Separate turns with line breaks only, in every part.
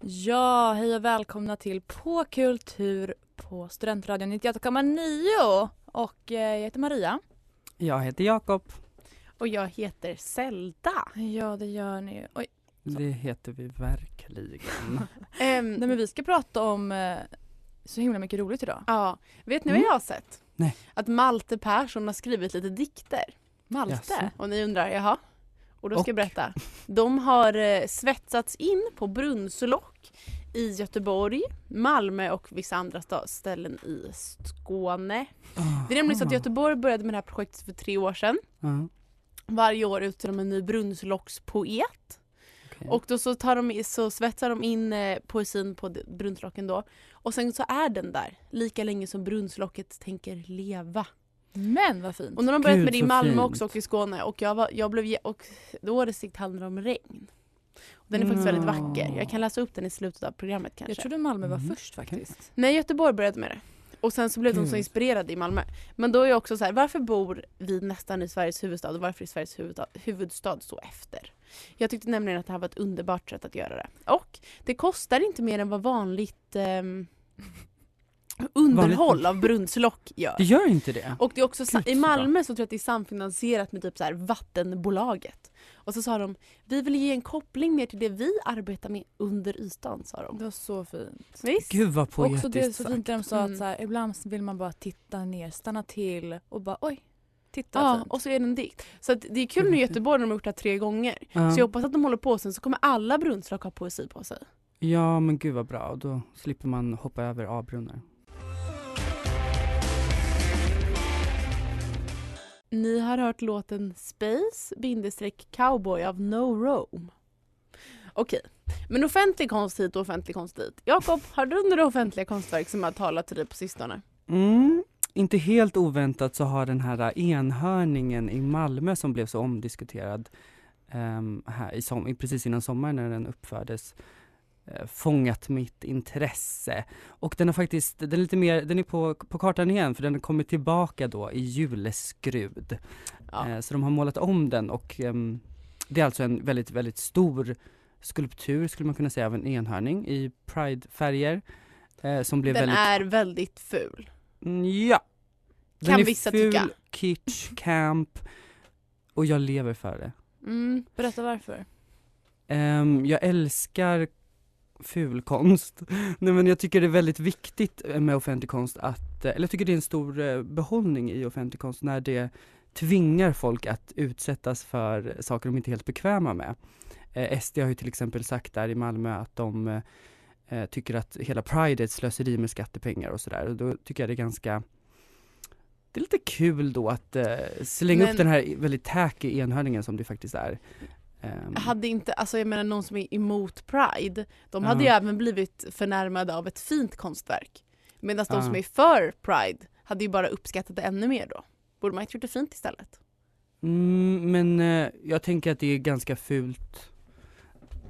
Ja, hej och välkomna till På kultur på Studentradion 98,9 och eh, jag heter Maria.
Jag heter Jakob.
Och jag heter Zelda.
Ja, det gör ni. Oj.
Det heter vi verkligen.
Ehm,
Nej, men vi ska prata om eh, så himla mycket roligt idag.
ja, vet ni vad
Mm.
jag har sett?
Nej.
Att Malte Persson har skrivit lite dikter.
Jaså?
Och ni undrar, jaha? Och då ska jag
Och?
berätta. De har eh, svetsats in på brunnslock i Göteborg, Malmö och vissa andra sta- ställen i Skåne.
Ah,
Det är nämligen så att Göteborg började med det här projektet för tre år sedan.
Ja,
Varje år utser de en ny brunnslockspoet.
okej.
Och då så, tar de, i- så svetsar de in eh, poesin på d- brunnslocken då. Och sen så är den där lika länge som brunnslocket tänker leva.
Men vad fint.
Och nu har de börjat
Gud,
med det i
så
Malmö
fint.
också och i Skåne. Och, jag var, jag blev, ge- och årets dikt handlar om regn. Och den är faktiskt väldigt vacker. Jag kan läsa upp den i slutet av programmet kanske.
Jag trodde Malmö var
Mm.
först faktiskt.
Nej, Göteborg började med det. Och sen så blev de så
Gud.
inspirerade i Malmö. Men då är jag också så här, varför bor vi nästan i Sveriges huvudstad och varför är Sveriges huvudstad, huvudstad så efter? Jag tyckte nämligen att det här var ett underbart sätt att göra det. Och det kostar inte mer än vad vanligt ehm, underhåll
Vanligt-
av brunnslock gör.
Det gör inte det?
Och det är också, sa-
Gud,
i
så bra.
Malmö så tror jag att det är samfinansierat med typ så här vattenbolaget. Och så sa de, vi vill ge en koppling mer till det vi arbetar med under ytan, sa de.
Det var så fint.
Visst?
Gud vad
Och också det är
poetiskt
så
sagt.
fint när de sa
Mm.
att så här, ibland vill man bara titta ner, stanna till och bara oj, titta Typ. vad
Ja,
fint.
och så är den dikt. Så att det är kul nu i Göteborg när de har gjort det här tre gånger.
Ja.
Så jag hoppas att de håller på sen så kommer alla brunnslock ha poesi på sig.
Ja men gud vad bra, och då slipper man hoppa över A-brunnar.
Ni har hört låten Space bindestreck cowboy av No Rome. Okej, men offentlig konst hit och offentlig konst dit. Jakob, har du några offentliga konstverk som har talat till dig på sistone?
Mm. Inte helt oväntat så har den här enhörningen i Malmö som blev så omdiskuterad ehm, här i som, i- precis innan sommaren när den uppfördes eh, fångat mitt intresse. Och den har faktiskt, den är lite mer, den är på, på kartan igen för den har kommit tillbaka då i juleskrud.
Ja.
Eh, Så de har målat om den och ehm, det är alltså en väldigt, väldigt stor skulptur skulle man kunna säga av en enhörning i pridefärger. eh, Som blev
Den
väldigt
är väldigt ful.
Mm, Ja. Den
Kan
är
vissa
ful,
tycka.
kitsch, camp och jag lever för det.
Mm.
Berätta varför.
Ehm, jag älskar fulkonst. Nej men jag tycker det är väldigt viktigt eh, med offentlig konst att, eller jag tycker det är en stor eh, behållning i offentlig konst när det tvingar folk att utsättas för saker de inte är helt bekväma med. Eh, SD har ju till exempel sagt där i Malmö att de eh, eh, tycker att hela Pride är ett slöseri med skattepengar och sådär. Och då tycker jag det är ganska det är lite kul då att eh, slänga
Men-
upp den här väldigt tacky enhörningen som det faktiskt är. Ehm,
Hade inte, alltså jag menar någon som är emot Pride, de
Ja.
hade ju även blivit förnärmade av ett fint konstverk. Medan de
Ja.
som är för Pride hade ju bara uppskattat det ännu mer då. Borde man inte gjort det fint istället?
Mm, men eh, jag tänker att det är ganska fult.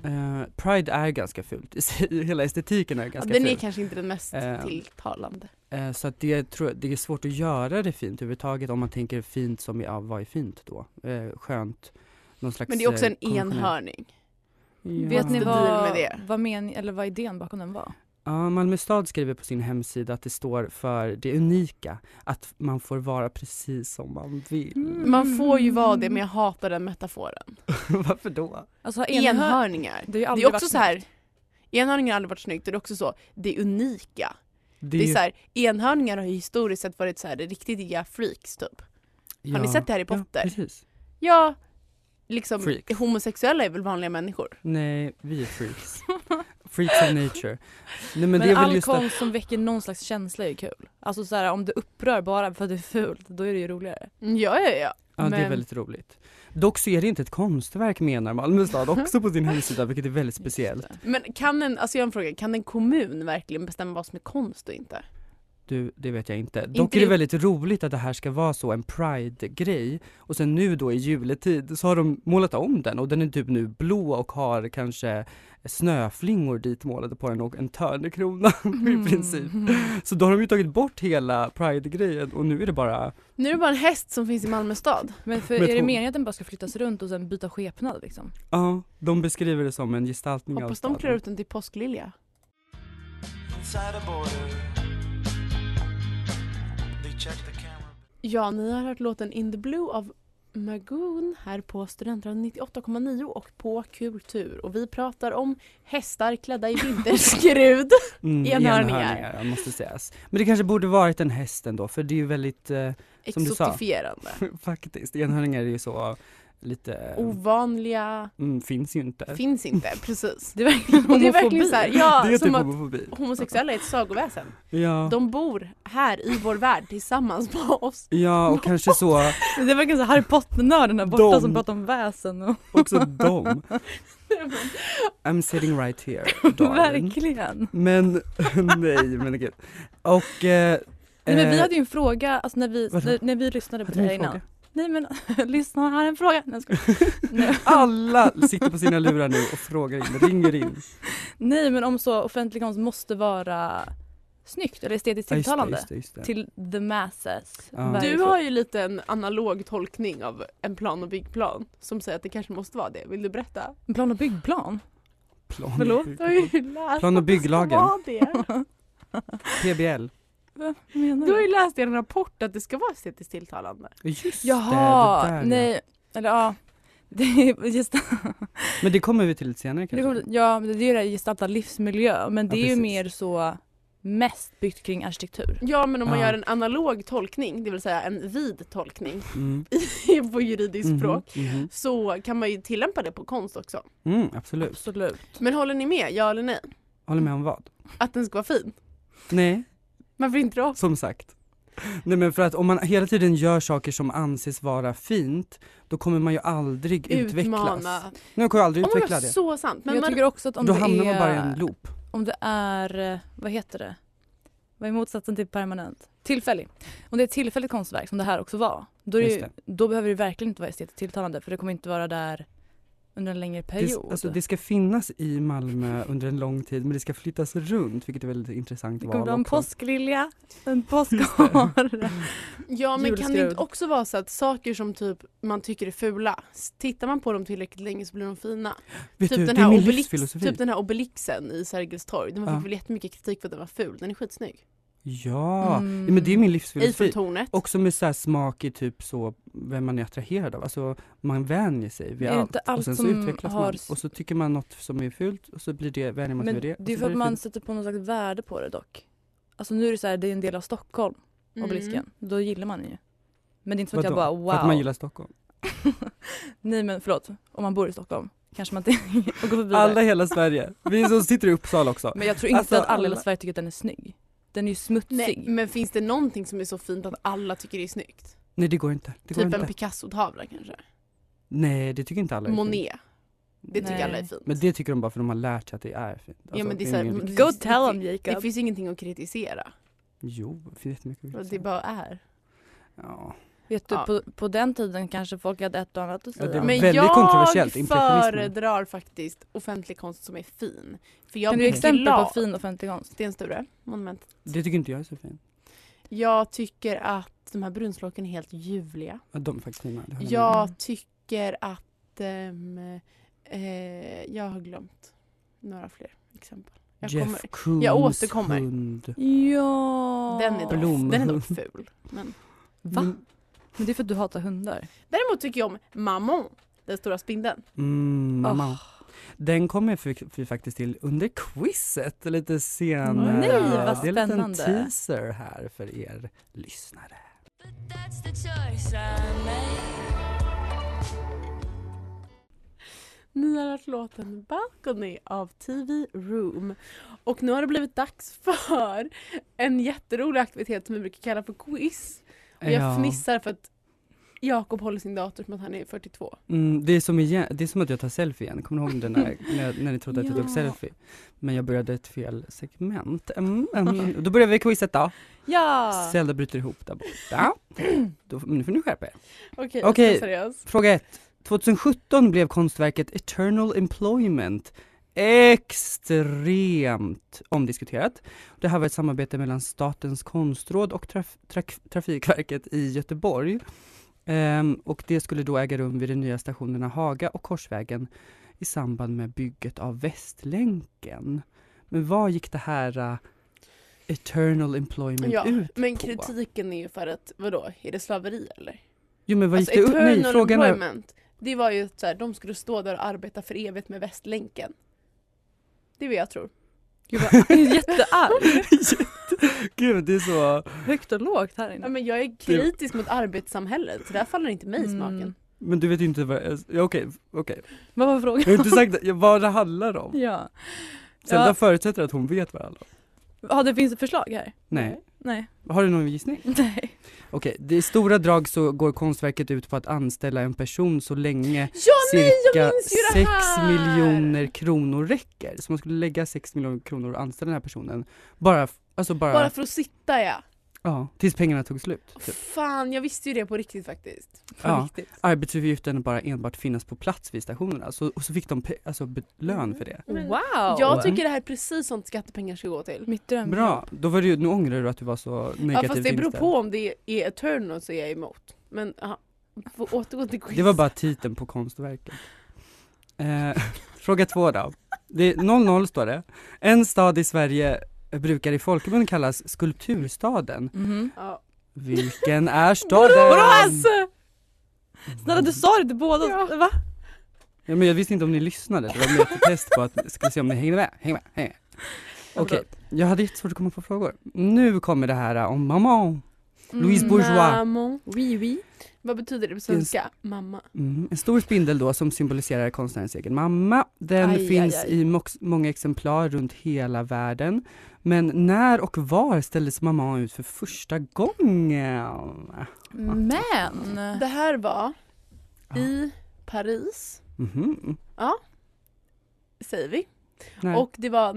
Eh, Pride är ganska fult i sig, hela estetiken är
Ja,
ganska
den är
ful.
kanske inte den mest
Ehm.
tilltalande.
Eh, så att det, tror, jag- det är svårt att göra det fint överhuvudtaget om man tänker fint som, i- ja vad är fint då? Eh, skönt, någon slags
Men det är också
eh,
en
konventionell-
enhörning.
Ja.
Vet ni
What's the deal med
vad,
det?
vad, men, eller vad idén bakom den var?
Ja, Malmö stad skriver på sin hemsida att det står för det unika, att man får vara precis som man vill.
Man får ju vara det men jag hatar den metaforen.
Varför då?
Alltså enhör...
Enhörningar.
Det har ju
Det
aldrig
är också
varit
så här, enhörningar har aldrig varit snyggt och det är också så, det unika.
Det
Det är
ju-
så här, enhörningar har ju historiskt sett varit så här riktiga freaks typ. Har ni
ja,
sett Harry
Ja,
Potter?
precis.
Ja, liksom
Freaks.
homosexuella är väl vanliga människor?
Nej, vi är freaks. freaks of nature. Nej, men,
Men,
det är väl
all
just att,
konst som väcker någon slags känsla är ju kul. Alltså så här, om det upprör bara för att det är fult, då är det ju roligare.
Ja, ja, ja.
ja, det är
men-
väldigt roligt. Dock så är det inte ett konstverk menar Malmö stad också på sin hemsida, vilket är väldigt speciellt.
Men kan en, alltså jag har en fråga, kan en kommun verkligen bestämma vad som är konst och inte?
Du, det vet jag inte. Dock
Inte
är det
det-
väldigt roligt att det här ska vara så en pride-grej och sen nu då i juletid så har de målat om den och den är typ nu blå och har kanske snöflingor dit målade på den och en törnekrona
Mm.
i princip. Så då har de ju tagit bort hela pride-grejen och nu är det bara
Nu är det bara en häst som finns i Malmö stad.
Men för
Men
är det
tror-
meningen att den bara ska flyttas runt och sen byta skepnad liksom?
Ja, de beskriver det som en gestaltning
Hoppas
av
de klär
staden.
ut den till påsklilja.
Inside a border, they check the camera.
Ja, ni har hört låten In the Blue av Magoon här på Studentradion 98,9 och på Kultur. Och vi pratar om hästar klädda i vinterskrud.
Mm,
enhörningar.
enhörningar, ja, måste sägas. Men det kanske borde varit en häst ändå för det är ju väldigt, eh, Som du sa.
Exotifierande.
faktiskt, enhörningar är ju så lite, eh,
Oh.
Ovanliga
mm, finns ju inte.
finns inte, precis.
Det är verkligen
Och det är
homofobi.
verkligen så här, ja,
det är
som
typ
att
homofobi.
homosexuella är ett sagoväsen.
Ja.
De bor här i vår värld tillsammans med oss.
Ja och kanske så,
Det är verkligen så Harry Potter-nördarna borta
De-
som pratar om väsen och
också de. I'm sitting right here, darling.
verkligen.
Men, nej men gud. Och, eh,
Nej, men vi
eh,
hade ju en fråga, alltså när vi,
vadå?
när, när vi lyssnade på
hade vi
det här
en
innan.
fråga?
Nej men lyssna, jag har en fråga. Nej, jag skojar.
Alla sitter på sina lurar nu och frågar in, ringer in.
Nej men om så offentlig konst måste vara snyggt eller estetiskt
Ja, just det,
tilltalande
just det, just det.
till the masses.
Du
Ja.
Varför?
har ju lite en analog tolkning av en plan och byggplan som säger att det kanske måste vara det. Vill du berätta?
Plan och byggplan?
Plan,
Förlåt?
Du har ju läst
Plan och
att det ska
bygglagen.
vara det.
PBL.
Menar
Du har ju läst i en rapport att det ska vara estetiskt tilltalande.
Just det, det
Jaha,
där, ja.
nej. Eller ja. Det är gesta-
Men det kommer vi till lite senare
det
kanske.
kommer, ja, men det är ju det här gestalta livsmiljö men det
Ja,
är ju
precis.
mer så mest byggt kring arkitektur.
Ja men om man
Ja.
gör en analog tolkning, det vill säga en vid tolkning
Mm.
på juridiskt
Mhm,
språk,
mhm.
så kan man ju tillämpa det på konst också.
Mm, absolut.
Absolut.
Men håller ni med, ja eller nej?
Håller med om vad?
Att den ska vara fin?
Nej,
Varför inte då?
som sagt. Nej men för att om man hela tiden gör saker som anses vara fint, då kommer man ju aldrig utvecklas.
Utmana.
Nu kommer jag aldrig
Oh my
utveckla
God,
det.
så sant.
Men
Men
jag
man,
tycker också att om
Då
det
hamnar
är,
man bara i en loop.
om det är, eh, vad heter det? Vad är motsatsen till permanent? Tillfällig. Om det är ett tillfälligt konstverk som det här också var, då, är det
Just
ju, då behöver det verkligen inte vara estetiskt tilltalande för det kommer inte vara där under en längre
Det,
period.
alltså, det ska finnas i Malmö under en lång tid men det ska flyttas runt vilket är väldigt intressant
det kommer
val
vara en
också.
påsklilja, en påskhare.
ja men kan det
julskrud.
inte också vara så att saker som typ man tycker är fula, s- tittar man på dem tillräckligt länge så blir de fina.
Vet
Typ
du,
den,
det är
här
min
obelix,
livsfilosofi.
typ den här obelixen i Sergels torg, den
Ja.
fick väl jättemycket kritik för att den var ful, den är skitsnygg.
Ja,
Mm.
ja, men det är min livsfilosofi.
Eiffeltornet.
Också med så här smak i typ så vem man är attraherad av, alltså man vänjer sig vid
Är det
allt,
inte
och
allt
sen så
som
utvecklas
har-
man och så tycker man något som är fult och så blir det, vänjer man sig
Men
vid det.
det
och
är ju
så
för
blir
att
det
man
fult.
sätter på något slags värde på det dock. Alltså nu är det så här, det är en del av Stockholm, obelisken.
Mm.
Då gillar man den ju. Men det är inte så att jag
Vadå?
bara wow.
För att man gillar Stockholm.
Nej men förlåt, om man bor i Stockholm kanske man inte och går förbi
Alla
där.
i hela Sverige, vi som sitter i Uppsala också.
Men jag tror inte
Alltså,
att alla i hela
alla-
Sverige tycker att den är snygg. Den är ju smutsig.
Nej, men finns det någonting som är så fint att alla tycker det är snyggt?
Nej det går inte. Det går
typ en
inte.
Picasso-tavla kanske?
Nej det tycker inte alla är fint.
Monet. Det tycker
Nej.
alla är fint.
Men det tycker de bara för de har lärt sig att det är fint.
ja,
Alltså,
men det är
ingen
såhär,
riktig-
Go tell 'em,
det
Jacob.
finns ingenting att kritisera.
Jo, det finns jättemycket att
Det
säga.
bara är.
Ja.
Vet du,
Ja.
på, på den tiden kanske folk hade ett och annat att
Ja, det
säga.
var-
Men
väldigt
jag
kontroversiellt, impressionismen.
föredrar faktiskt offentlig konst som är fin. För jag
kan du ge
blir
exempel på
glad.
fin offentlig konst?
Sten Sture, monument.
Det tycker inte jag är så fint.
Jag tycker att de här brunslåken är helt ljuvliga.
Ja, De är faktiskt fina. det håller jag med om.
Jag
Mm.
tycker att... ehm, eh, jag har glömt några fler exempel. Jag
Jeff
kommer,
Koons
jag återkommer.
hund.
Ja.
den, är dock,
Blomhund.
den är dock ful. Men.
Va?
Mm.
Men det är för att du hatar hundar.
Däremot tycker jag om Mammon, den stora spindeln.
Mm, mamma.
Ah.
Den kommer vi, vi faktiskt till under quizet lite senare.
Nej, vad
Det är en liten
spännande.
teaser här för er lyssnare.
Ni har hört låten Balcony av TV Room. Och nu har det blivit dags för en jätterolig aktivitet som vi brukar kalla för quiz. Och jag
Ja.
fnissar för att Jakob håller sin dator som att han är 42.
Mm, det, är som igen, det är som att jag tar selfie igen. Kommer ni ihåg den där när, när ni trodde att jag tog
Ja.
selfie? Men jag började ett fel segment. Mm, mm. Då börjar vi quizet då.
Ja.
Zelda bryter ihop där borta. Då, men nu får ni skärpa er.
Okej,
Okej.
okay, seriös.
Fråga 1. 2017 blev konstverket Eternal Employment extremt omdiskuterat. Det här var ett samarbete mellan Statens konstråd och traf traf Trafikverket i Göteborg. Ehm, och det skulle då äga rum vid de nya stationerna Haga och Korsvägen i samband med bygget av Västlänken. Men vad gick det här eh, Eternal Employment
Ja,
ut
Men
på?
kritiken är ju för att, vadå, är det slaveri eller?
Jo men vad gick
Alltså
det ut?
eternal
Nej, frågan är
employment, det var ju att så här, de skulle stå där och arbeta för evigt med Västlänken. Det är vad jag tror.
Gud, vad, jag är jättearg.
Gud, det är så...
Högt och lågt här
Ja,
inne.
men jag är kritisk mot arbetssamhället, så där faller inte mig i smaken.
Mm.
Men du vet ju inte vad... Ja, Okej, okej.
Vad var frågan?
Jag har inte sagt ja, vad det handlar om.
Ja.
Zelda
Ja.
förutsätter att hon vet vad det handlar om.
ja, det finns förslag här?
Nej.
Nej.
Har du någon gissning?
Nej.
Okej, i stora drag så går konstverket ut på att anställa en person så länge
Ja nej jag
cirka
minns ju det
6
här!
miljoner kronor räcker. Så man skulle lägga 6 miljoner kronor och anställa den här personen. Bara, f- alltså bara,
Bara för att sitta ja.
ja, tills pengarna tog slut. Typ.
Fan jag visste ju det på riktigt faktiskt. På
Ja.
riktigt.
Arbetsuppgiften bara enbart finnas på plats vid stationerna. Så, och så fick de pe- alltså, be-
Mm.
lön för det.
Men
Wow!
Jag tycker det här är precis sånt skattepengar ska gå till.
Mitt dröm.
Bra, då var det ju, nu ångrar du att du var så negativt
Ja fast det beror
inställd.
på om det är Eternal så är jag emot. Men ja, får återgå till quiz.
Det var bara titeln på konstverket. Eh, fråga två då. Det är 00 står det. En stad i Sverige brukar i folkmun kallas Skulpturstaden.
Mhm.
Ja.
Vilken är staden?
Alltså! Snälla du sa det till båda,
Ja.
va?
Ja, men jag visste inte om ni lyssnade, det var mer ett test på att skulle se om ni hängde med. Häng med, häng med. Okej, jag hade jättesvårt att komma på frågor. Nu kommer det här om mamma. Louise Bourgeois.
Maman.
Oui, oui.
Mm. Vad betyder det på svenska? Mamma.
Mm. En stor spindel då som symboliserar konstnärens egen mamma. Den
Aj,
finns
aj, aj.
i mox- många exemplar runt hela världen. Men när och var ställdes mamma ut för första gången?
Mm.
Men.
Det här var
Ja.
i Paris,
Mhm.
säger vi.
När?
Och det var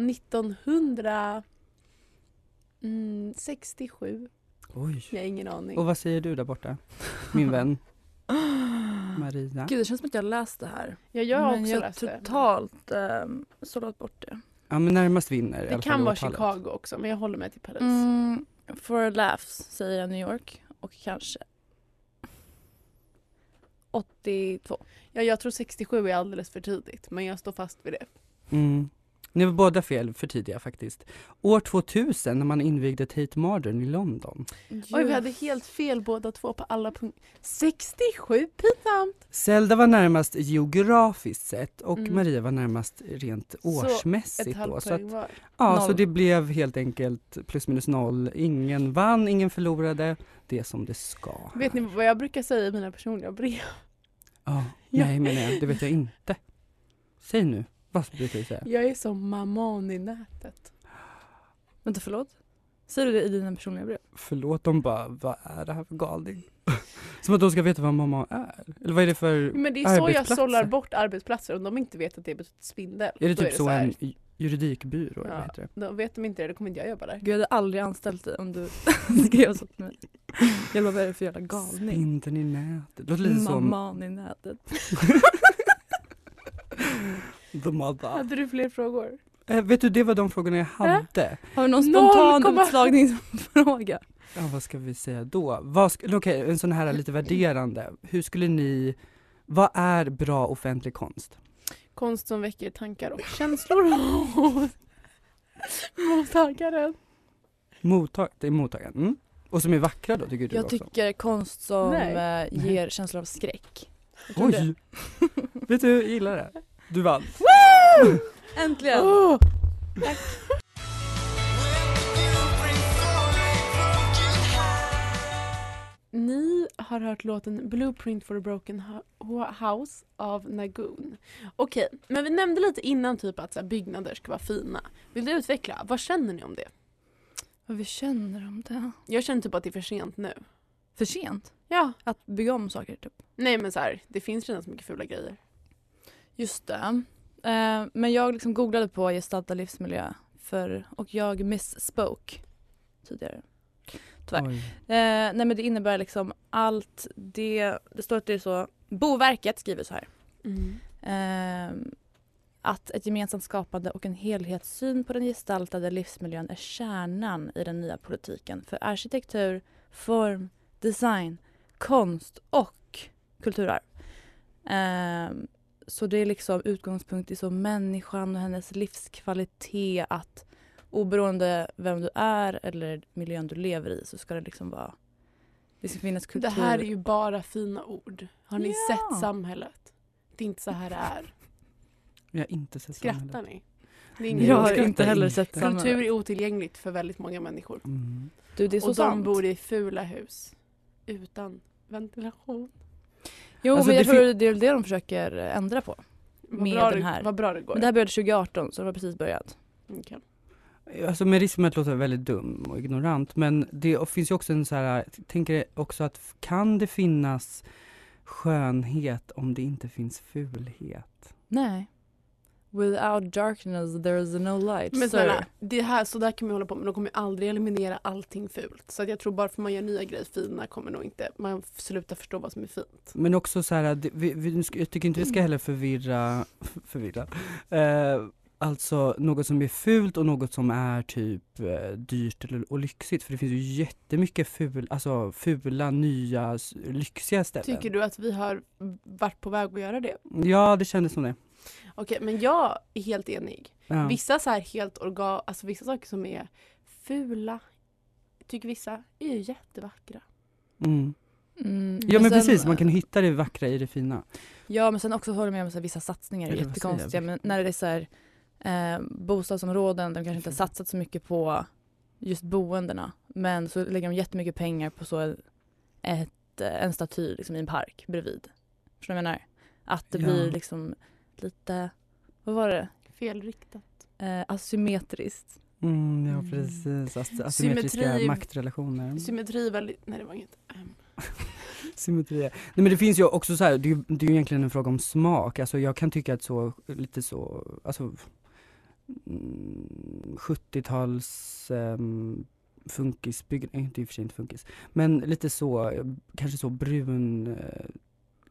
1967.
Oj.
mm, Jag har ingen aning.
Och vad säger du där borta, min vän Maria?
Gud det känns som att jag läst det här.
Ja, jag har
men
också
jag
läst det.
totalt ehm, sållat bort det.
Ja men närmast vinner i
Det
alla
kan
fall
vara
åtalet.
Chicago också, men jag håller mig till Paris.
Mm, for laughs säger jag New York och kanske 82.
Ja, jag tror 67 är alldeles för tidigt, men jag står fast vid det.
Mm. Ni var båda fel för tidiga faktiskt. År 2000 när man invigde Tate Modern i London.
Oj, vi hade helt fel båda två på alla punkter. 67, pinsamt!
Zelda var närmast geografiskt sett och
Mm.
Maria var närmast rent
Ett
årsmässigt. Då,
halvt
så, att,
poäng var.
ja,
Noll.
så det blev helt enkelt plus minus noll. Ingen vann, ingen förlorade. Det är som det ska.
Vet ni vad jag brukar säga i mina personliga brev?
Ja,
Ja.
Nej men nej, det vet jag inte. Säg nu, vad brukar du säga?
Jag är som mamman i nätet.
Vänta förlåt? Säger du det i dina personliga brev?
Förlåt, de bara, vad är det här för galning? Som att de ska veta vad mamma är. Eller vad är det för...
Men det är så jag
Arbetsplatser.
sållar bort arbetsplatser. Om de inte vet att det betyder spindel,
Är det
då
typ så,
här.
en ju- juridikbyrå eller
Ja.
vad heter det?
Då vet de inte det, då kommer inte jag jobba där.
Gud jag hade aldrig anställt dig om du skrev så till mig. Jag bara vad är det för jävla galning?
Spindeln i nätet. Låter lite som
Mamman i nätet.
the mother.
Hade du fler frågor?
Eh, vet du, det var de frågorna jag hade.
Har du någon
Noll
spontan
komma-
utslagningsfråga?
Ja, vad ska vi säga då? Vad sk- eller Okej, en sån här lite värderande. Hur skulle ni, vad är bra offentlig konst?
Konst som väcker tankar och känslor hos mottagaren.
Mottag, det är mottagaren. Mm. Och som är vackra då tycker du
Jag
också?
tycker konst som
Nej.
eh, ger känslor av skräck.
Oj! Vet du, jag gillar det. Du vann.
Äntligen!
Ni har hört låten Blueprint for a broken Ho- house av Nagoon. Okej, men vi nämnde lite innan typ att så här, byggnader ska vara fina. Vill du utveckla? Vad känner ni om det?
Vad vi känner om det.
Jag känner typ att det är för sent nu.
För sent
Ja.
att bygga om saker typ.
Nej men så här, det finns redan så mycket fula grejer.
Just det. Eh, men jag liksom googlade på gestalta livsmiljö för, och jag misspoke tidigare. Tyvärr.
Oj.
Eh, nej men det innebär liksom allt det, det står att det är så, Boverket skriver så här.
Mm.
Ehm, att ett gemensamt skapande och en helhetssyn på den gestaltade livsmiljön är kärnan i den nya politiken för arkitektur, form, design, konst och kulturarv. Ehm, så det är liksom utgångspunkt i så människan och hennes livskvalitet att oberoende vem du är eller miljön du lever i så ska det liksom vara det ska finnas kultur.
Det här är ju bara fina ord. Har ni
Ja.
sett samhället? Det är inte så här det är.
Jag har inte sett
Skrattar
samhället.
ni? Det är
Jag
jag har
skrattar
inte heller
inte.
sett
Kultur
samma.
är otillgängligt för väldigt många människor.
Mm.
Du, det är så
och de
sant.
bor i fula hus utan ventilation.
Jo,
Alltså,
men jag
det
tror det är det de försöker ändra på.
Vad,
Med
bra,
den
det-
här.
vad bra det går.
Men det här började 2018, så det var precis börjat.
Okej.
Alltså med risk med att låta väldigt dum och ignorant, men det finns ju också en så här, jag tänker också att kan det finnas skönhet om det inte finns fulhet?
Nej. Without darkness there is no light.
Men snälla, det här, så där kan man hålla på men de kommer ju aldrig eliminera allting fult. Så att jag tror bara för att man gör nya grejer fina kommer nog inte, man f- slutar förstå vad som är fint.
Men också så här, det- vi, vi, nu ska- jag tycker inte vi
Mm.
ska heller förvirra, förvirra, eh, alltså något som är fult och något som är typ eh, dyrt eller, och lyxigt för det finns ju jättemycket ful, alltså, fula, nya, s- lyxiga ställen.
Tycker du att vi har varit på väg att göra det?
Ja, det kändes som det.
Okej, men jag är helt enig.
Ja.
Vissa så här helt organ, alltså vissa saker som är fula, tycker vissa, är ju jättevackra.
Mm.
Mm,
Alltså
Ja men
sen-
precis,
eh,
man kan hitta det vackra i det fina.
Ja, men sen också håller jag med om att vissa satsningar är
Eller vad
jättekonstiga.
säger
Men när det är så här, eh, bostadsområden, de kanske inte har satsat så mycket på just boendena. Men så lägger de jättemycket pengar på så ett, en staty liksom, i en park bredvid. Förstår du vad jag menar? Att det
Ja.
blir liksom lite, vad var det?
Felriktat.
eh, asymmetriskt.
Mm, ja
Mm.
precis, As- asymmetriska
Symmetri-
maktrelationer. Mm.
Symmetri är väldigt, nej det var inget. Ehm,
Symmetri. Nej men det finns ju också så här, det är ju, det är ju egentligen en fråga om smak, alltså jag kan tycka att så, lite så, alltså mm, 70-tals um, funkisbygg, nej, det är i och för sig inte funkis, men lite så, eh, kanske så brun, eh,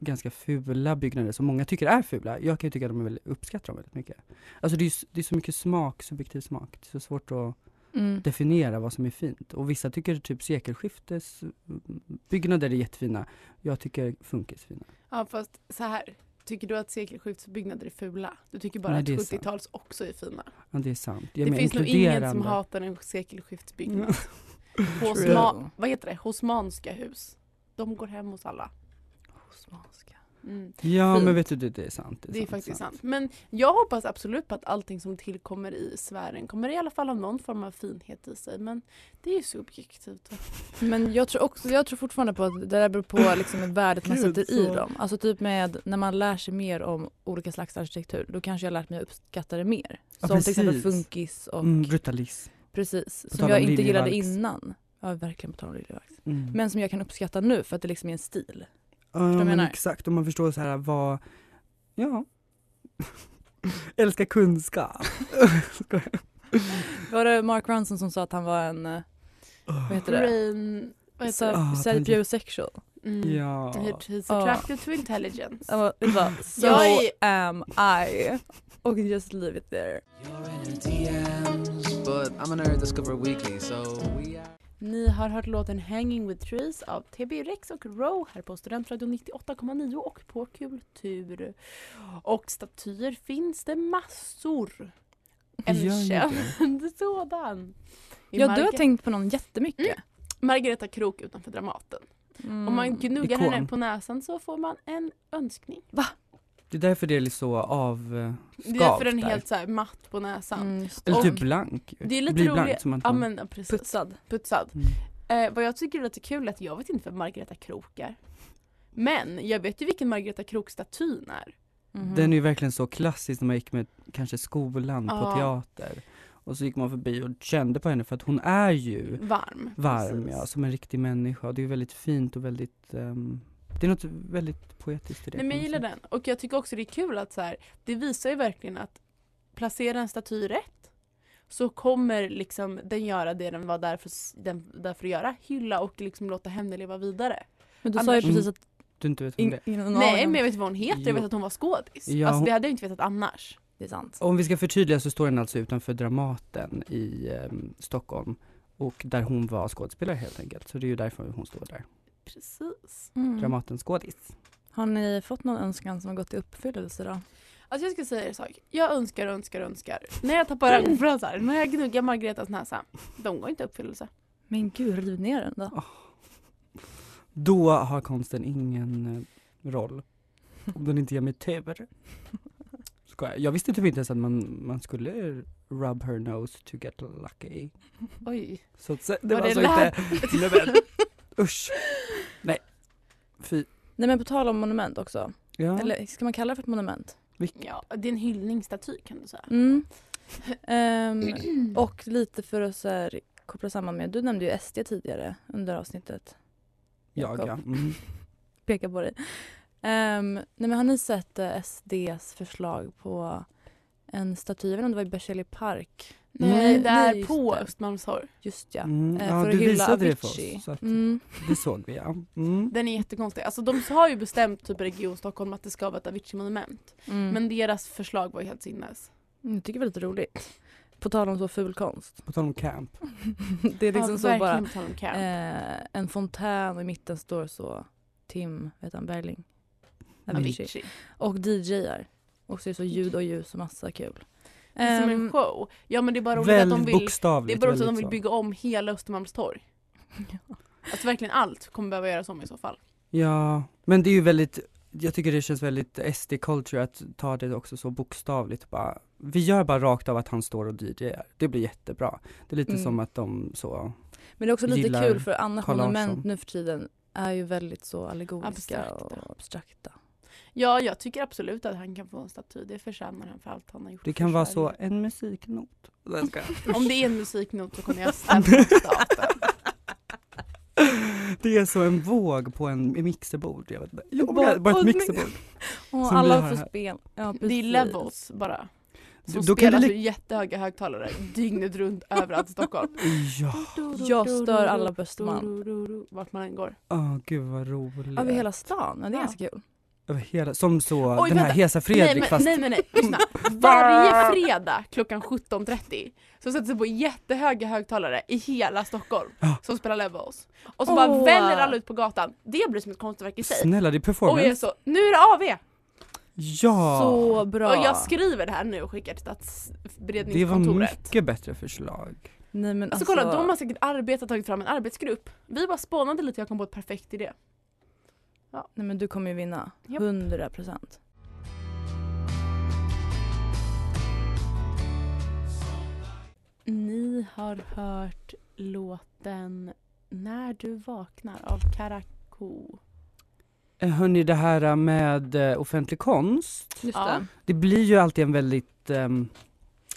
ganska fula byggnader som många tycker är fula. Jag kan ju tycka att de är väldigt, uppskattar dem väldigt mycket. Alltså det är, ju s- det är så mycket smak, subjektiv smak, det är så svårt att
Mm.
definiera vad som är fint. Och vissa tycker typ sekelskiftesbyggnader är jättefina. Jag tycker funkis är fina.
Ja fast så här, tycker du att sekelskiftesbyggnader är fula? Du tycker bara
Nej, det är
att
sant.
70-tals också är fina.
Ja, det är sant. Jag
det
menar
finns nog ingen som
inkluderande. Mm.
hatar en sekelskiftesbyggnad. Hosma,
True.
vad heter det? Hosmanska hus. De går hem hos alla.
Osmanska.
Mm.
Ja,
fint.
men vet du, det, det är sant.
Det är faktiskt sant. Men jag hoppas absolut på att allting som tillkommer i sfären kommer i alla fall ha någon form av finhet i sig. Men det är ju subjektivt.
Men jag tror, också, jag tror fortfarande på att det där beror på liksom värdet man
Mm. Gud,
sätter i
så.
dem. Alltså typ med när man lär sig mer om olika slags arkitektur då kanske jag lärt mig att uppskatta det mer.
Ja,
Som till exempel
precis.
funkis och
Mm, brutalism.
precis.
tal
Som jag
om
inte gillade
Liljevalchs.
innan. Ja verkligen på tal om Liljevalchs.
Mm.
Men som jag kan uppskatta nu för att det liksom är en stil.
ja, men
menar?
exakt, om man förstår så här vad, ja. Älska kunskap. Skojar.
Var det Mark Ronson som sa att han var en, eh, vad heter det?
Brain... Vad heter det?
Ah,
Så, så
tänk-
biosexual.
Mm.
Ja.
He's
Ja.
attracted to intelligence.
Jag bara- bara, so
Jag är-
am I. Och just leave it there.
You're in her DMs, but I'm a nerd discover weekly, so we are.
Ni har hört låten Hanging with Trees av TB Rex och Row här på Studentradion 98,9 och på Kultur. Och statyer finns det massor. En
Gör ni det?
känd sådan. I
Ja, du har
Marga-
tänkt på någon jättemycket.
Margareta Krok utanför Dramaten.
Mm.
Om man gnuggar
Ikon.
henne på näsan så får man en önskning.
Det är därför det är lite så av eh,
Det är därför
Skavt
den är
där.
helt så här matt på näsan.
Mm, just det.
Eller
Och-
typ blank.
Det är lite
Blir
roligt.
blank som man
Ja men ja, precis.
Putsad.
Putsad.
Mm.
Eh, vad jag tycker är lite kul är att jag vet inte vem Margareta Krok är. Men jag vet ju vilken Margareta Krok-statyn är.
Mhm.
Den är ju verkligen så klassisk när man gick med kanske skolan
Ja.
på teater. Och så gick man förbi och kände på henne för att hon är ju
Varm.
varm
precis.
ja, som en riktig människa. Det är ju väldigt fint och väldigt, ehm, det är något väldigt poetiskt i det.
Nej, men jag
på något
gillar
sätt.
den. Och jag tycker också det är kul att så här, det visar ju verkligen att placera en staty rätt så kommer liksom den göra det den var där för, s- den, där för att göra, hylla och liksom låta henne leva vidare.
Men du sa ju
Annars-
precis att
Du inte vet vem det
in,
är.
ingen
Nej men jag vet inte vad hon heter, jag vet
Jo.
att hon var skådis.
Ja,
alltså
hon-
det hade jag inte vetat annars.
Det är sant.
Om vi ska förtydliga så står den alltså utanför Dramaten i ehm, Stockholm. Och där hon var skådespelare helt enkelt. Så det är ju därför hon står där.
Mm. Precis.
Mm.
Dramaten skådis.
Har ni fått någon önskan som har gått i uppfyllelse då?
Alltså jag ska säga en sak, jag önskar och önskar och önskar. När jag tappar ögonfransar, när jag gnuggar Margaretas näsa, de går inte i uppfyllelse.
Men gud, riv ner den då.
Då har konsten ingen eh, roll. Om den inte ger mig tur. Skojar. Jag visste typ inte ens att man, man skulle rub her nose to get lucky.
Oj.
Så att, sä- det
Var
var,
det
alltså inte... Nej, men, usch. Nej. Fy.
Nej men på tal om monument också.
Ja.
Eller ska man kalla det för ett monument?
Ja, det är en hyllningsstaty kan du säga.
Mm. Ehm, och lite för att så här, koppla samman med, du nämnde ju SD tidigare under avsnittet.
Jag ja. Mm.
pekar på dig. Ehm, nej men har ni sett eh, SDs förslag på en staty, jag vet inte om det var i Berzelii park?
Nej,
Nej,
det är
nej, just
på
det.
Östermalmstorg.
Just ja.
Mm.
Eh,
ja
för
du
att hylla
visade det för
Avicii.
oss. Så att,
Mm.
Det såg vi ja. Mm.
Den är jättekonstig. Alltså de har ju bestämt typ i Region Stockholm att det ska vara ett Avicii-monument.
Mm.
Men deras förslag var ju helt sinnes.
Mm, jag tycker det var lite roligt. På tal om så ful konst.
På tal om camp.
det är liksom så bara
På tal om camp.
eh, en fontän och i mitten står så Tim, vet han, Berling. Avicii.
Avicii.
Och DJar. Och så är det så ljud och ljus och massa kul.
Det är som en
Ehm,
show. Ja men det är bara roligt att de
Väldigt
vill, det är
bokstavligt.
bara roligt att de
väldigt
vill
så.
bygga om hela Östermalmstorg. Alltså verkligen allt kommer behöva göras om i så fall.
Ja, men det är ju väldigt, jag tycker det känns väldigt SD-culture att ta det också så bokstavligt bara. Vi gör bara rakt av att han står och DJar, det blir jättebra. Det är lite
Mm.
som att de så,
Men det är också lite
Gillar
kul för annars
Carl
monument
Larsson.
nu för tiden är ju väldigt så allegoriska
Abstrakta.
och abstrakta.
Ja jag tycker absolut att han kan få en staty. Det förtjänar han för allt han har gjort
det
för
kan vara
Sverige.
så, en musiknot. Den ska-
Om det är en musiknot så kommer jag stämma staten.
Det är så en våg på en mixerbord, jag vet inte. Jo,
Bara-
bara, bara
och-
ett mixerbord.
Och
Som vi
alla
har
får
här.
spel. Ja,
Det är
precis.
levels bara. Som
Då kan
spelas
det
ur jättehöga högtalare dygnet runt överallt i Stockholm.
Ja,
Jag stör alla på Östermalm.
Vart man än går.
åh gud vad roligt.
Över hela stan. Ja, det är
Ja.
ganska kul.
Över hela, som så,
Oj,
den här
vänta.
Hesa Fredrik
nej, men,
fast
nej nej nej, lyssna. Varje fredag klockan 17.30 så sätter sig på jättehöga högtalare i hela Stockholm
Ja.
som spelar Levels. Och så
Åh.
bara väller alla ut på gatan. Det blir som ett konstverk i sig.
snälla det är
Och
performance.
jag är så, nu är det AV!
ja!
Så bra.
Och jag skriver det här nu och skickar till
det var
statsberedningskontoret.
mycket bättre förslag.
Nej, men
Alltså,
alltså,
kolla, de har säkert arbetat tagit fram en arbetsgrupp. Vi bara spånade lite, jag kom på ett perfekt idé.
Nej men du kommer ju vinna.
Japp.
100 procent.
Ni har hört låten När du vaknar av Karako.
Eh, Hörni, det här med eh, offentlig konst,
Just
Ja.
det.
det blir ju alltid en väldigt ehm,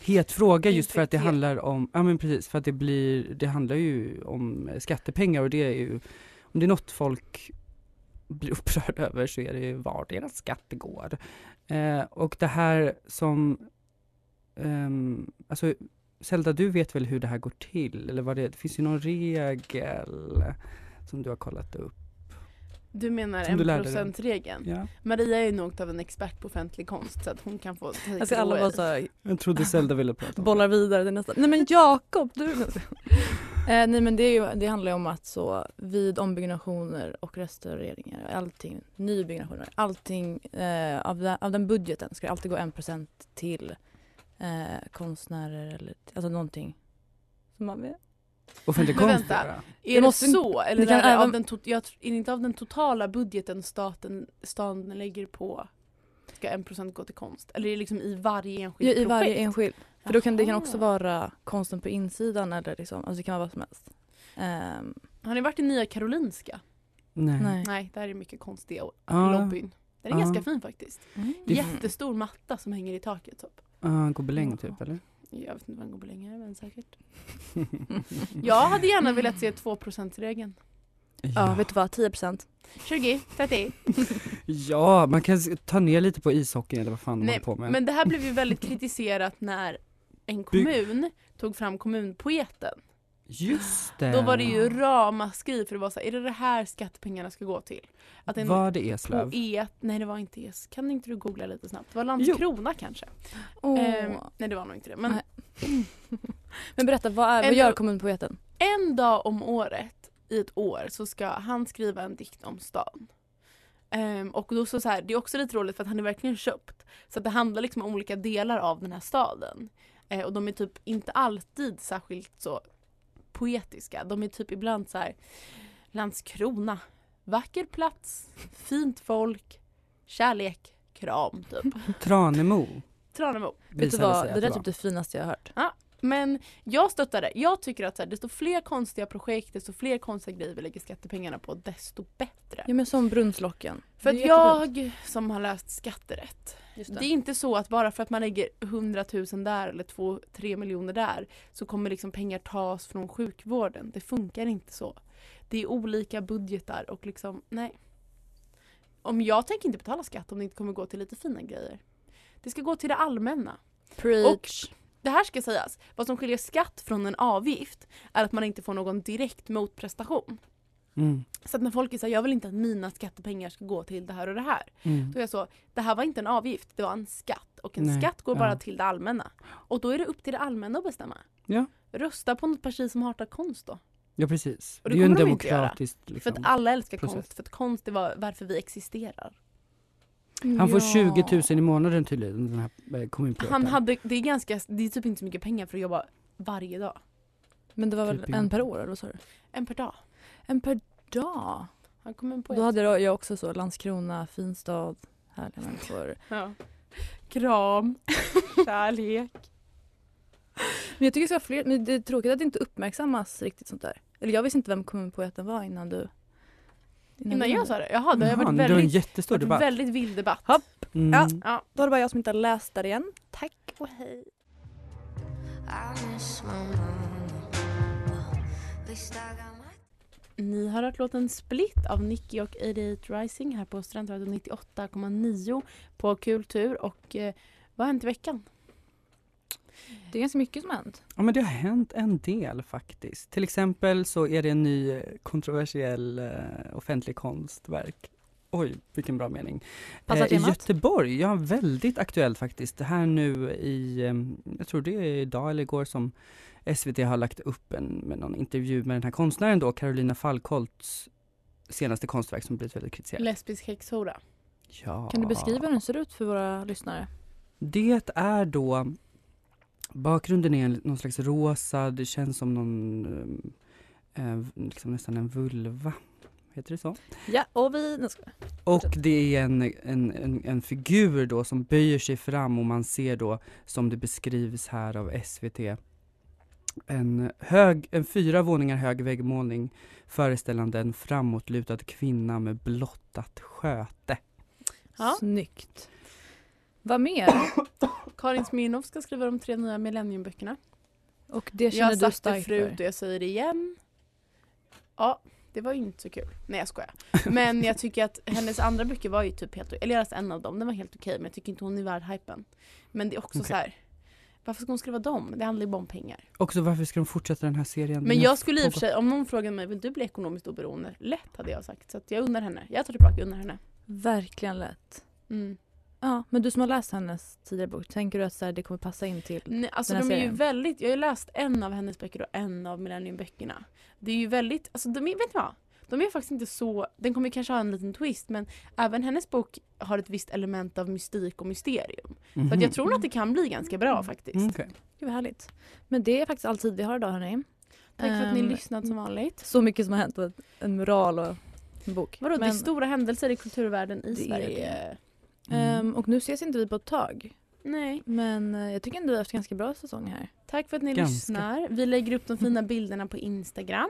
het fråga just för att det
Infekterad.
handlar om, ja men precis, för att det blir, det handlar ju om skattepengar och det är ju, om det är något folk blir upprörda över så är det ju var deras skatt går. Eh, och det här som, ehm, alltså Zelda du vet väl hur det här går till, eller vad det, det finns ju någon regel som du har kollat upp.
Du menar
Som du lärde dig.
enprocentregeln?
Ja.
Maria är ju något av en expert på offentlig konst så att hon kan få take
Alltså
it
alla
away.
bara så här,
Jag trodde Zelda ville prata om det.
bollar vidare till nästa. Nej men Jakob, du. Eh, nej men det, är ju, det handlar ju om att så vid ombyggnationer och restaureringar, allting, nybyggnationer, allting eh, av, den, av den budgeten ska det alltid gå 1% till eh, konstnärer eller alltså någonting. Som man vet.
Offentlig
Men
konst
vänta.
bara.
Är
Det
det,
måste-
så? Eller
det kan
är, det av
även-
den tot- jag tror, är det inte av den totala budgeten staten, staten lägger på ska 1% gå till konst? Eller är det liksom i varje enskilt
Ja, I varje
projekt?
enskild. För då kan, det kan
Jaha.
också vara konsten på insidan eller liksom, alltså det kan vara vad som helst. Ehm,
Har ni varit i Nya Karolinska?
Nej.
nej.
Nej, där är mycket konstiga och
Ja.
lobbyn. Den är
Ja.
ganska fin faktiskt.
Det-
Jättestor matta som hänger i taket. Typ.
Ah, gobeläng typ eller?
Jag vet inte vad den går på längre men säkert. Jag hade gärna velat se 2%-regeln.
Ja, vet du vad, 10%.
20, 30.
Ja, man kan s- ta ner lite på ishockeyn eller vad fan de
Nej,
håller på med.
Men det här blev ju väldigt kritiserat när en kommun tog fram kommunpoeten.
Just det.
Då var det
Eh.
ju ramaskri för det var så här, är det det här skattepengarna ska gå till? Att en
Var det
på
Eslöv?
E, nej det var inte E, kan inte du googla lite snabbt? Det var Landskrona kanske? Ehm, nej det var nog inte det. Men
Nej. Men berätta, vad, är, vad
En-
gör kommunpoeten?
en dag om året i ett år så ska han skriva en dikt om stan. Ehm, och då så, så här, det är också lite roligt för att han är verkligen köpt. Så att det handlar liksom om olika delar av den här staden. Eh, och de är typ inte alltid särskilt så poetiska. De är typ ibland så här Landskrona, vacker plats, fint folk, kärlek, kram typ.
Tranemo
Tranemo.
Vet du
visade
vad,
sig
det
att
där
det
är typ
var.
det finaste jag har hört.
Men jag stöttar det. Jag tycker att så här, desto fler konstiga projekt, desto fler konstiga grejer vi lägger skattepengarna på, desto bättre.
Ja men som Brunnslocken.
För
Det
att
är
jag som har läst skatterätt,
Just
det är inte så att bara för att man lägger 100 000 där eller 2-3 miljoner där så kommer liksom pengar tas från sjukvården. Det funkar inte så. Det är olika budgetar och liksom, nej. Om jag tänker inte betala skatt om det inte kommer gå till lite fina grejer. Det ska gå till det allmänna.
Preach.
Det här ska sägas, vad som skiljer skatt från en avgift är att man inte får någon direkt motprestation.
Mm,
Så att när folk är såhär, jag vill inte att mina skattepengar ska gå till det här och det här.
mm.
Då är jag så, det här var inte en avgift, det var en skatt. Och en
Nej,
skatt går bara
ja.
till det allmänna. Och då är det upp till det allmänna att bestämma.
Ja.
Rösta på något parti som hatar konst då.
Ja precis.
Och
Det
det
är ju en
kommer de inte göra.
demokratisk liksom.
För att alla älskar
process.
konst, för att konst är vad- varför vi existerar.
Han får 20 000 i månaden tydligen den här eh, kommunpoeten.
Han hade, det är ganska, det är typ inte så mycket pengar för att jobba varje dag.
Men det var väl
Typ
en
inte.
per år eller vad sa du?
En per dag.
En per dag?
Han kommer på
Då hade jag jag också så Landskrona, fin stad, härliga människor.
ja. Kram, kärlek.
Men jag tycker det ska vara fler, men det är tråkigt att det inte uppmärksammas riktigt sånt där. Eller jag visste inte vem kommunpoeten var innan du...
Innan
du
jag
nämnde.
sa det, jaha det har
Jaha,
varit
det var en
väldigt,
jättestor
varit
debatt.
väldigt vild debatt.
Hopp.
Mm.
Ja.
Ja.
Då var det bara jag som inte hade läst där igen.
Tack och hej.
Ni har hört låten Split av Nicky och 88 Rising här på Studentradion 98,9 på Kultur och eh, vad har hänt i veckan?
Det är ganska mycket som har hänt.
Ja men det har hänt en del faktiskt. Till exempel så är det en ny eh, kontroversiell eh, offentlig konstverk. Oj, vilken bra mening. Eh,
Passar
I
temat?
Göteborg, ja väldigt aktuellt faktiskt. Det här nu i, eh, jag tror det är idag eller igår som SVT har lagt upp en med någon intervju med den här konstnären då, Carolina Falkholts senaste konstverk som blivit väldigt kritiserat.
Lesbisk häxhora.
Ja.
Kan du beskriva hur den ser ut för våra lyssnare?
Det är då, bakgrunden är en- någon slags rosa, det känns som någon, eh, eh, liksom nästan en vulva. Heter det så?
Ja, och vi... Nej, ska jag.
Och det är en, en, en, en figur då som böjer sig fram och man ser då, som det beskrivs här av SVT, en, hög, en fyra våningar hög väggmålning föreställande en framåtlutad kvinna med blottat sköte.
Ja.
Snyggt. Vad mer?
Karin Smirnoff ska skriva de tre nya Millenniumböckerna.
Och det
Jag
känner
har
du
sagt det
starkt för?
förut och jag säger det igen. Ja, det var ju inte så kul. Nej jag skojar. Men jag tycker att hennes andra böcker var ju typ helt Eller jag läste en av dem, den var helt okej men jag tycker inte hon är värd hypen. Men det är också
Okej.
så här. varför ska hon skriva dem? Det handlar ju bara om pengar.
Också varför ska de fortsätta den här serien?
Men
Den
jag
har
skulle i och för
pågått-
sig, om någon frågade mig, vill du bli ekonomiskt oberoende? Lätt hade jag sagt. Så att jag undrar henne. Jag tar tillbaka, jag undrar henne.
Verkligen lätt.
Mm.
Ja, men du som har läst hennes tidigare bok, tänker du att så här, det kommer passa in till...
Nej, alltså
Den här
de är ju
serien.
väldigt, jag har ju läst en av hennes böcker och en av Millenniumböckerna. Det är ju väldigt, alltså de är, vet ni vad? De är faktiskt inte så, den kommer kanske ha en liten twist men även hennes bok har ett visst element av mystik och mysterium. Så att jag tror nog att det kan bli ganska bra faktiskt.
Mhm. Mm, okej.
Gud vad härligt. Men det är faktiskt all tid vi har idag hörni.
Tack för att ni
Ehm,
lyssnat som vanligt.
Så mycket som har hänt på en moral och en bok.
Vadå, det är
Men-
stora händelser i kulturvärlden i
Det är
Sverige.
Mm.
Ehm, och nu ses inte vi på ett tag.
Nej,
Men eh, jag tycker ändå vi har haft ganska bra säsong här.
tack för att ni
Ganska.
lyssnar. Vi lägger upp de fina bilderna på Instagram.